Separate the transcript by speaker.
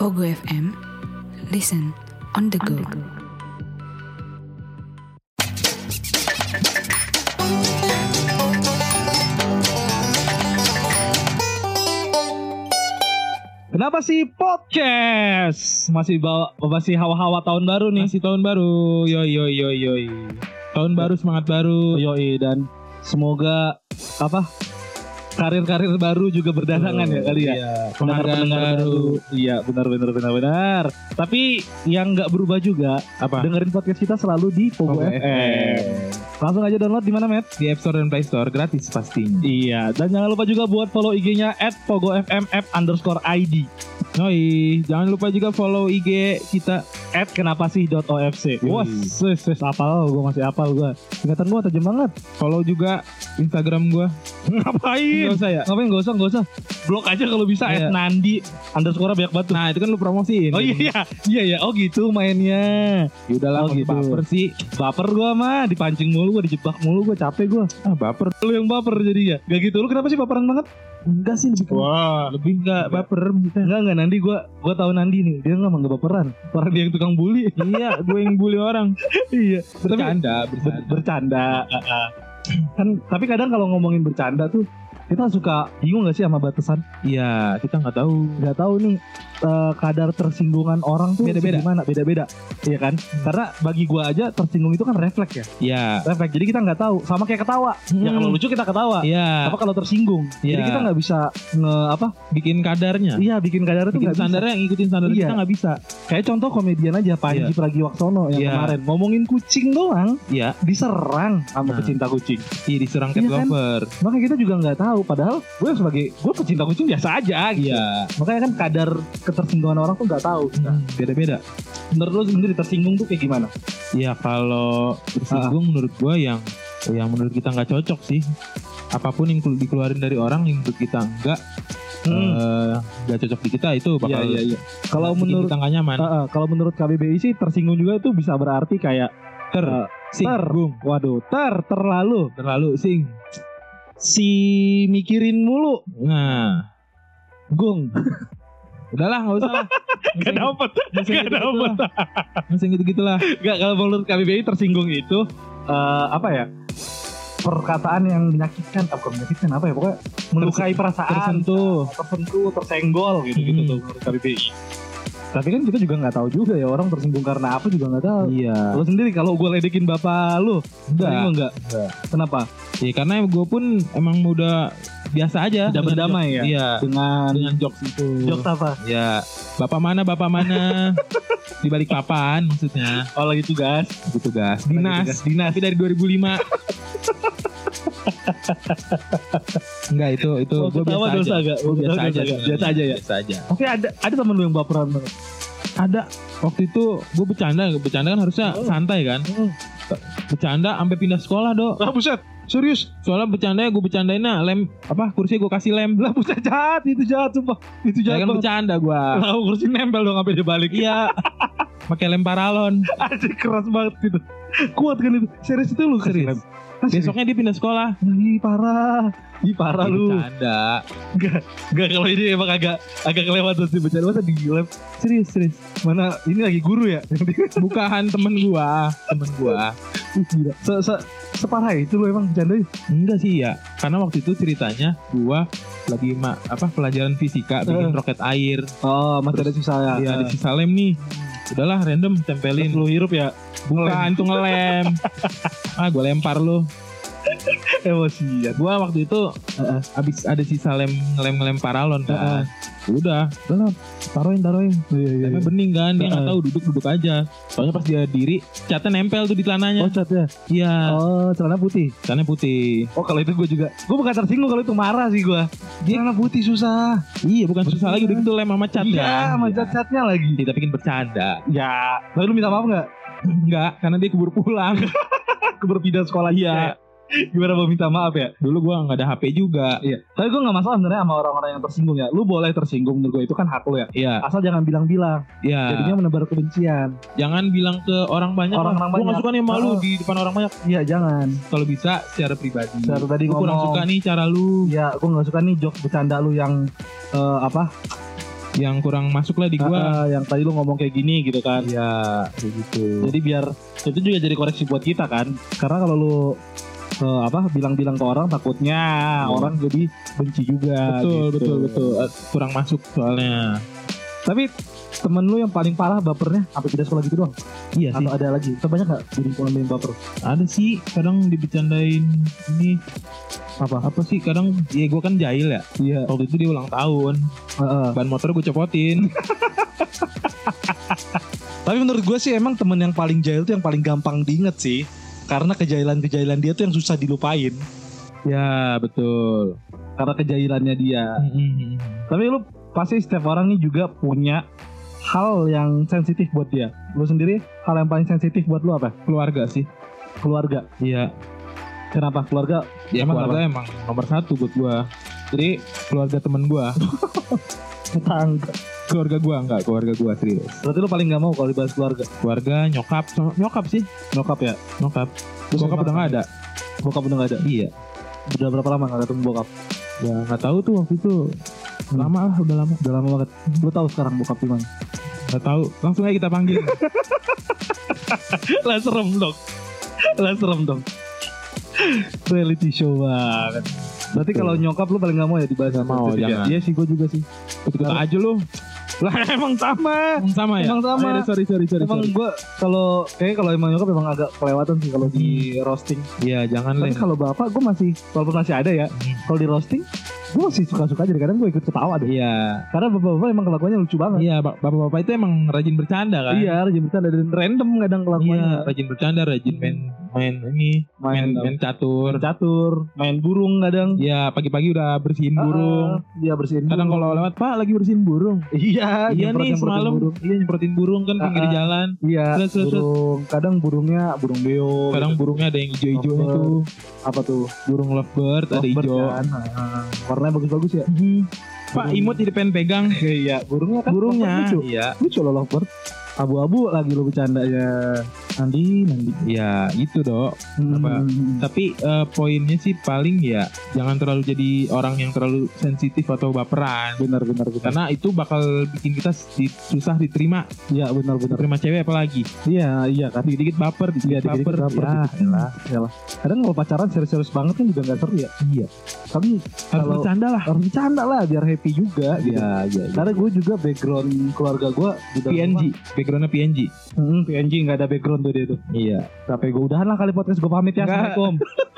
Speaker 1: Ogo FM. Listen on the go.
Speaker 2: Kenapa sih podcast? Masih bawa masih hawa-hawa tahun baru nih.
Speaker 3: Masih tahun baru, yoi yoi yoi yoi. Tahun baru semangat baru.
Speaker 2: Yoi dan semoga apa karir-karir baru juga berdatangan ya kali ya.
Speaker 3: Iya, penghargaan
Speaker 2: Pendengar-pendengar
Speaker 3: baru.
Speaker 2: Iya, benar benar benar benar. Tapi yang nggak berubah juga,
Speaker 3: Apa?
Speaker 2: dengerin podcast kita selalu di Pogo
Speaker 3: Pogo
Speaker 2: FM. Langsung aja download di mana, Matt?
Speaker 3: Di App Store dan Play Store gratis pastinya.
Speaker 2: Iya, dan jangan lupa juga buat follow IG-nya at Pogo FM app underscore ID
Speaker 3: Yoi, jangan lupa juga follow IG kita.
Speaker 2: at kenapa sih dot OFC.
Speaker 3: Yoi.
Speaker 2: Wah, wes wes apal gue masih apal gue. Ingatan gue tajam banget.
Speaker 3: Follow juga Instagram gua.
Speaker 2: Ngapain?
Speaker 3: Nggak usah ya?
Speaker 2: Ngapain gak usah, gak usah. Blok aja kalau bisa at
Speaker 3: Iya.
Speaker 2: Nandi underscore banyak banget tuh.
Speaker 3: Nah, itu kan lu promosiin.
Speaker 2: Oh iya iya iya iya. oh gitu mainnya.
Speaker 3: Ya udah lah,
Speaker 2: Oh, gitu.
Speaker 3: gitu. baper sih.
Speaker 2: Baper gua mah dipancing mulu gua dijebak mulu gua capek gua.
Speaker 3: Ah, baper.
Speaker 2: Lu yang baper jadi ya. Gak gitu lu kenapa sih baperan banget?
Speaker 3: Enggak sih lebih
Speaker 2: Wah,
Speaker 3: lebih enggak baper maksudnya.
Speaker 2: Enggak enggak Nandi gua gua tahu Nandi nih. Dia enggak enggak baperan. Orang dia yang tukang bully.
Speaker 3: iya, gue yang bully orang.
Speaker 2: iya. Tapi
Speaker 3: Bercanda,
Speaker 2: ber-
Speaker 3: bercanda.
Speaker 2: bercanda. ah, ah. kan tapi kadang kalau ngomongin bercanda tuh kita suka bingung gak sih sama batasan?
Speaker 3: Iya, kita nggak tahu.
Speaker 2: nggak tahu nih eh, kadar tersinggungan orang tuh
Speaker 3: Beda-beda. Hmm.
Speaker 2: gimana beda-beda iya kan karena bagi gua aja tersinggung itu kan refleks ya
Speaker 3: Iya.
Speaker 2: refleks jadi kita nggak tahu sama kayak ketawa ya
Speaker 3: Hmm.
Speaker 2: kalau lucu kita ketawa
Speaker 3: Iya,
Speaker 2: apa kalau tersinggung jadi
Speaker 3: Iya.
Speaker 2: kita nggak bisa nge apa
Speaker 3: bikin kadarnya.
Speaker 2: iya bikin kadar itu
Speaker 3: Bikin
Speaker 2: nggak bisa
Speaker 3: standarnya yang ngikutin standar
Speaker 2: Iya.
Speaker 3: kita nggak bisa.
Speaker 2: kayak contoh komedian aja Panji
Speaker 3: Iya.
Speaker 2: Pragiwaksono yang
Speaker 3: Iya.
Speaker 2: kemarin ngomongin kucing doang
Speaker 3: Iya,
Speaker 2: diserang sama
Speaker 3: Nah.
Speaker 2: pecinta kucing
Speaker 3: iya diserang cat
Speaker 2: Iya kan?
Speaker 3: lover.
Speaker 2: makanya kita juga nggak tahu padahal gue sebagai gue pecinta kucing biasa aja gitu
Speaker 3: Iya,
Speaker 2: makanya kan kadar ketersinggungan orang tuh nggak tahu Nah,
Speaker 3: beda-beda.
Speaker 2: menurut lo sendiri tersinggung tuh kayak gimana Ah.
Speaker 3: Iya, kalau tersinggung menurut gua yang yang menurut kita nggak cocok sih. Apapun yang kelu- dikeluarin dari orang yang menurut kita nggak
Speaker 2: Hmm.
Speaker 3: eh, nggak cocok di kita itu bakal
Speaker 2: Iya, iya, iya. Kalau
Speaker 3: bikin kan.
Speaker 2: menurut
Speaker 3: kita nggak nyaman.
Speaker 2: Ah, ah, kalau menurut KBBI sih tersinggung juga itu bisa berarti kayak
Speaker 3: ter,
Speaker 2: eh,
Speaker 3: singgung,
Speaker 2: waduh ter terlalu
Speaker 3: terlalu sing.
Speaker 2: si mikirin mulu
Speaker 3: Nah,
Speaker 2: gung
Speaker 3: udahlah nggak usah.
Speaker 2: Iya.
Speaker 3: lah.
Speaker 2: gak dapet gak dapet
Speaker 3: Masih gitu-gitu lah.
Speaker 2: gak kalau menurut KBBI tersinggung itu eh, apa ya perkataan yang menyakitkan apa bukan menyakitkan apa ya pokoknya melukai perasaan
Speaker 3: Tersentuh.
Speaker 2: tersentuh tersenggol gitu gitu
Speaker 3: Hmm.
Speaker 2: tuh menurut KBBI tapi kan kita juga nggak tahu juga ya orang tersinggung karena apa juga nggak tahu
Speaker 3: Iya.
Speaker 2: lo sendiri kalau gue ledekin bapak lo
Speaker 3: Enggak.
Speaker 2: tersinggung Hmm. nggak kenapa
Speaker 3: Ya karena gue pun emang udah biasa aja.
Speaker 2: Udah
Speaker 3: dengan
Speaker 2: berdamai
Speaker 3: jokes.
Speaker 2: ya?
Speaker 3: Iya.
Speaker 2: dengan
Speaker 3: Dengan jokes itu.
Speaker 2: jok apa?
Speaker 3: Ya, bapak mana, bapak mana? di balik papan maksudnya.
Speaker 2: Oh lagi tugas.
Speaker 3: Gitu gas.
Speaker 2: Lagi tugas
Speaker 3: Dinas.
Speaker 2: dinas.
Speaker 3: Tapi dari 2005. Enggak itu itu
Speaker 2: Oh,
Speaker 3: gue
Speaker 2: ketawa
Speaker 3: biasa
Speaker 2: dosa
Speaker 3: aja.
Speaker 2: agak?
Speaker 3: Gua
Speaker 2: Oh,
Speaker 3: biasa
Speaker 2: ketawa dosa
Speaker 3: aja.
Speaker 2: agak?
Speaker 3: sebenarnya.
Speaker 2: Biasa aja ya?
Speaker 3: Biasa aja.
Speaker 2: Tapi ada ada temen lu yang baperan banget.
Speaker 3: Ada waktu itu gue bercanda, bercanda kan harusnya
Speaker 2: Oh.
Speaker 3: santai kan. Bercanda sampai pindah sekolah, Dok.
Speaker 2: Lah Ah, buset, serius.
Speaker 3: Soalnya bercandanya gue bercandainnya lem apa kursi gue kasih lem.
Speaker 2: Lah buset jahat, itu jahat sumpah. Itu
Speaker 3: Ya
Speaker 2: jahat
Speaker 3: kan
Speaker 2: banget.
Speaker 3: bercanda gue.
Speaker 2: Lah kursi nempel dong sampai dia balik.
Speaker 3: Iya. Pakai lem paralon.
Speaker 2: Anjir keras banget gitu. Kuat kan itu. Serius itu lu
Speaker 3: Serius. Besoknya dia pindah sekolah.
Speaker 2: Ih parah. Ih parah
Speaker 3: Jadi
Speaker 2: lu.
Speaker 3: Bercanda.
Speaker 2: Gak kalau ini emang agak agak kelewatan sih bercanda masa di lab.
Speaker 3: Serius, serius.
Speaker 2: Mana ini lagi guru ya?
Speaker 3: Bukahan temen gua, temen gua.
Speaker 2: Gila. Se se separah ya itu lu emang bercandanya.
Speaker 3: Enggak sih ya, karena waktu itu ceritanya gua lagi ma apa pelajaran fisika
Speaker 2: Eh.
Speaker 3: bikin roket air.
Speaker 2: Oh,
Speaker 3: masih ada
Speaker 2: sisa
Speaker 3: Ya, ada sisa lem nih. Udahlah random
Speaker 2: Terus
Speaker 3: tempelin.
Speaker 2: lu hirup ya
Speaker 3: Bukan itu ngelem. ah, gua lempar lu.
Speaker 2: emosian
Speaker 3: Gua waktu itu
Speaker 2: iya. Heeh.
Speaker 3: habis ada sisa lem ngelem ngelem paralon kan. Udah, udahlah taruhin taruhin.
Speaker 2: iya iya
Speaker 3: Lemnya bening kan, dia nggak
Speaker 2: Heeh.
Speaker 3: tahu duduk-duduk aja. Soalnya pas dia diri, catnya nempel tuh di
Speaker 2: oh
Speaker 3: celananya.
Speaker 2: cat ya
Speaker 3: Iya,
Speaker 2: oh celana putih
Speaker 3: catnya putih.
Speaker 2: oh kalau itu gue juga gue bukan tersinggung kalau itu marah sih gue celana putih susah
Speaker 3: Iya bukan susah
Speaker 2: Bener.
Speaker 3: lagi udah gitu lem sama Iya. cat
Speaker 2: iya
Speaker 3: kan.
Speaker 2: sama
Speaker 3: Iya.
Speaker 2: cat-catnya lagi
Speaker 3: Kita bikin bercanda.
Speaker 2: ya tapi lu minta maaf gak?
Speaker 3: Enggak, karena dia kubur pulang.
Speaker 2: ke berpindah sekolah
Speaker 3: Iya.
Speaker 2: gimana mau minta maaf ya
Speaker 3: Dulu gua nggak ada HP juga.
Speaker 2: iya tapi gue gak masalah sebenarnya sama orang-orang yang tersinggung ya lu boleh tersinggung menurut gue itu kan hak lu ya
Speaker 3: Iya,
Speaker 2: asal jangan bilang-bilang
Speaker 3: iya.
Speaker 2: jadinya menebar kebencian
Speaker 3: jangan bilang ke orang banyak.
Speaker 2: Orang-orang
Speaker 3: lah. Gua nggak
Speaker 2: banyak.
Speaker 3: suka nih malu
Speaker 2: Oh.
Speaker 3: di depan orang banyak.
Speaker 2: iya jangan
Speaker 3: Kalau bisa secara pribadi.
Speaker 2: Secara pribadi
Speaker 3: Gua kurang
Speaker 2: ngomong.
Speaker 3: suka nih cara lu.
Speaker 2: Iya, gue gak suka nih jokes bercanda lu yang eh, apa
Speaker 3: yang kurang masuk lah di gua.
Speaker 2: Ah, ah, yang tadi lu ngomong kayak gini gitu kan.
Speaker 3: Iya, kayak gitu.
Speaker 2: Jadi biar itu juga jadi koreksi buat kita kan. Karena kalau lu eh, apa bilang-bilang ke orang takutnya orang jadi benci juga.
Speaker 3: Hmm. betul,
Speaker 2: gitu.
Speaker 3: betul, betul. Eh, Kurang masuk soalnya.
Speaker 2: Tapi temen lu yang paling parah bapernya sampai tidak sekolah gitu doang
Speaker 3: Iya sih.
Speaker 2: atau ada lagi sebanyak nggak jadi pulang main baper
Speaker 3: Ada sih kadang dibicandain ini
Speaker 2: apa
Speaker 3: apa sih kadang ya gua kan jahil ya.
Speaker 2: iya
Speaker 3: Waktu itu dia ulang tahun,
Speaker 2: heeh.
Speaker 3: ban motor gue copotin.
Speaker 2: tapi menurut gue sih emang temen yang paling jahil tuh yang paling gampang diinget sih karena kejahilan-kejahilan dia tuh yang susah dilupain
Speaker 3: ya, betul.
Speaker 2: karena kejahilannya dia
Speaker 3: Mm-mm.
Speaker 2: Tapi lu pasti setiap orang nih juga punya hal yang sensitif buat dia. Lu sendiri hal yang paling sensitif buat lu apa?
Speaker 3: Keluarga sih.
Speaker 2: Keluarga.
Speaker 3: Iya,
Speaker 2: Kenapa? Keluarga
Speaker 3: Ya,
Speaker 2: Emang
Speaker 3: emang keluarga emang nomor satu buat gua. Jadi keluarga temen gua,
Speaker 2: tetangga.
Speaker 3: keluarga gua enggak, keluarga gua serius.
Speaker 2: Berarti lu paling gak mau kalau dibahas keluarga.
Speaker 3: Keluarga nyokap, sama- nyokap sih,
Speaker 2: Nyokap ya?
Speaker 3: nyokap.
Speaker 2: Terus
Speaker 3: bokap
Speaker 2: emang-
Speaker 3: udah nggak ada.
Speaker 2: Bokap udah gak ada.
Speaker 3: Iya.
Speaker 2: Udah berapa lama gak ketemu bokap?
Speaker 3: Ya nggak tahu tuh waktu itu. Lama lah, udah lama.
Speaker 2: Udah lama banget. Lu tahu sekarang bokap di mana?
Speaker 3: Nggak tahu. Langsung aja kita panggil.
Speaker 2: lah serem dong. lah serem dong. Reality show banget. Berarti kalau nyokap lu paling gak mau Ah, ya dibahas sama
Speaker 3: Mau,
Speaker 2: dia?
Speaker 3: jangan.
Speaker 2: Iya sih, gue juga sih.
Speaker 3: Kita
Speaker 2: Karena-
Speaker 3: aja lu.
Speaker 2: Lah emang sama.
Speaker 3: Emang sama ya.
Speaker 2: Emang sama.
Speaker 3: Oh, iya, sorry sorry sorry.
Speaker 2: Emang
Speaker 3: sorry.
Speaker 2: gue kalau kayak kalau emang nyokap emang agak kelewatan sih kalau di roasting.
Speaker 3: Iya jangan
Speaker 2: Tapi
Speaker 3: lah.
Speaker 2: kalau bapak gue masih walaupun masih ada ya, kalau di roasting gue masih suka-suka aja. Kadang gue ikut ketawa deh.
Speaker 3: Iya.
Speaker 2: Karena bapak-bapak emang kelakuannya lucu banget.
Speaker 3: Iya bap- bapak-bapak itu emang rajin bercanda kan.
Speaker 2: Iya, rajin bercanda dan random kadang
Speaker 3: Iya,
Speaker 2: kelakuannya.
Speaker 3: rajin bercanda, rajin main main ini, main main
Speaker 2: main
Speaker 3: catur.
Speaker 2: catur, main burung kadang.
Speaker 3: Iya pagi-pagi udah bersihin burung.
Speaker 2: Ah, Iya bersihin
Speaker 3: Kadang
Speaker 2: burung.
Speaker 3: kalau lewat Pak lagi bersihin burung.
Speaker 2: Iya,
Speaker 3: iya
Speaker 2: nyemprot-nyemprotin
Speaker 3: nih semalam
Speaker 2: burung.
Speaker 3: iya nyemprotin burung kan pinggir
Speaker 2: Ah, ah.
Speaker 3: jalan.
Speaker 2: Iya,
Speaker 3: Terus, terus, terus.
Speaker 2: burung. Kadang burungnya burung beo.
Speaker 3: Kadang
Speaker 2: gitu.
Speaker 3: burungnya ada yang hijau-hijau
Speaker 2: Lovebird.
Speaker 3: tuh,
Speaker 2: apa tuh?
Speaker 3: burung lovebird, ada
Speaker 2: Lovebird
Speaker 3: hijau.
Speaker 2: kan. Ah, Warnanya bagus-bagus ya.
Speaker 3: Mhm. Pak
Speaker 2: Burung.
Speaker 3: imut jadi pengen pegang
Speaker 2: Iya, burungnya kan
Speaker 3: burungnya.
Speaker 2: lucu.
Speaker 3: Iya.
Speaker 2: lucu loh lovebird abu-abu lagi lo bercandanya Andi Andi
Speaker 3: Iya, itu, Dok. Apa?
Speaker 2: hmm.
Speaker 3: Tapi eh, poinnya sih paling ya jangan terlalu jadi orang yang terlalu sensitif atau baperan.
Speaker 2: benar benar benar
Speaker 3: Karena itu bakal bikin kita di- susah diterima,
Speaker 2: iya benar benar
Speaker 3: diterima cewek apalagi.
Speaker 2: iya iya kan
Speaker 3: Dikit-dikit baper,
Speaker 2: Iya,
Speaker 3: dikit-dikit
Speaker 2: dikit-dikit
Speaker 3: baper.
Speaker 2: baper,
Speaker 3: Ya,
Speaker 2: dikit-dikit. Ya lah. kadang kalau pacaran serius-serius banget kan juga nggak seru ya
Speaker 3: Iya.
Speaker 2: tapi
Speaker 3: Harus
Speaker 2: Kalau-
Speaker 3: bercanda lah.
Speaker 2: harus bercanda lah biar happy juga gitu
Speaker 3: iya. iya.
Speaker 2: karena gue juga background keluarga gue di dalam
Speaker 3: PNG,
Speaker 2: rumah.
Speaker 3: backgroundnya PNG.
Speaker 2: Hmm, PNG nggak ada background tuh dia tuh
Speaker 3: Iya.
Speaker 2: sampai gue udahan lah kali podcast gue pamit ya
Speaker 3: Nggak.
Speaker 2: assalamualaikum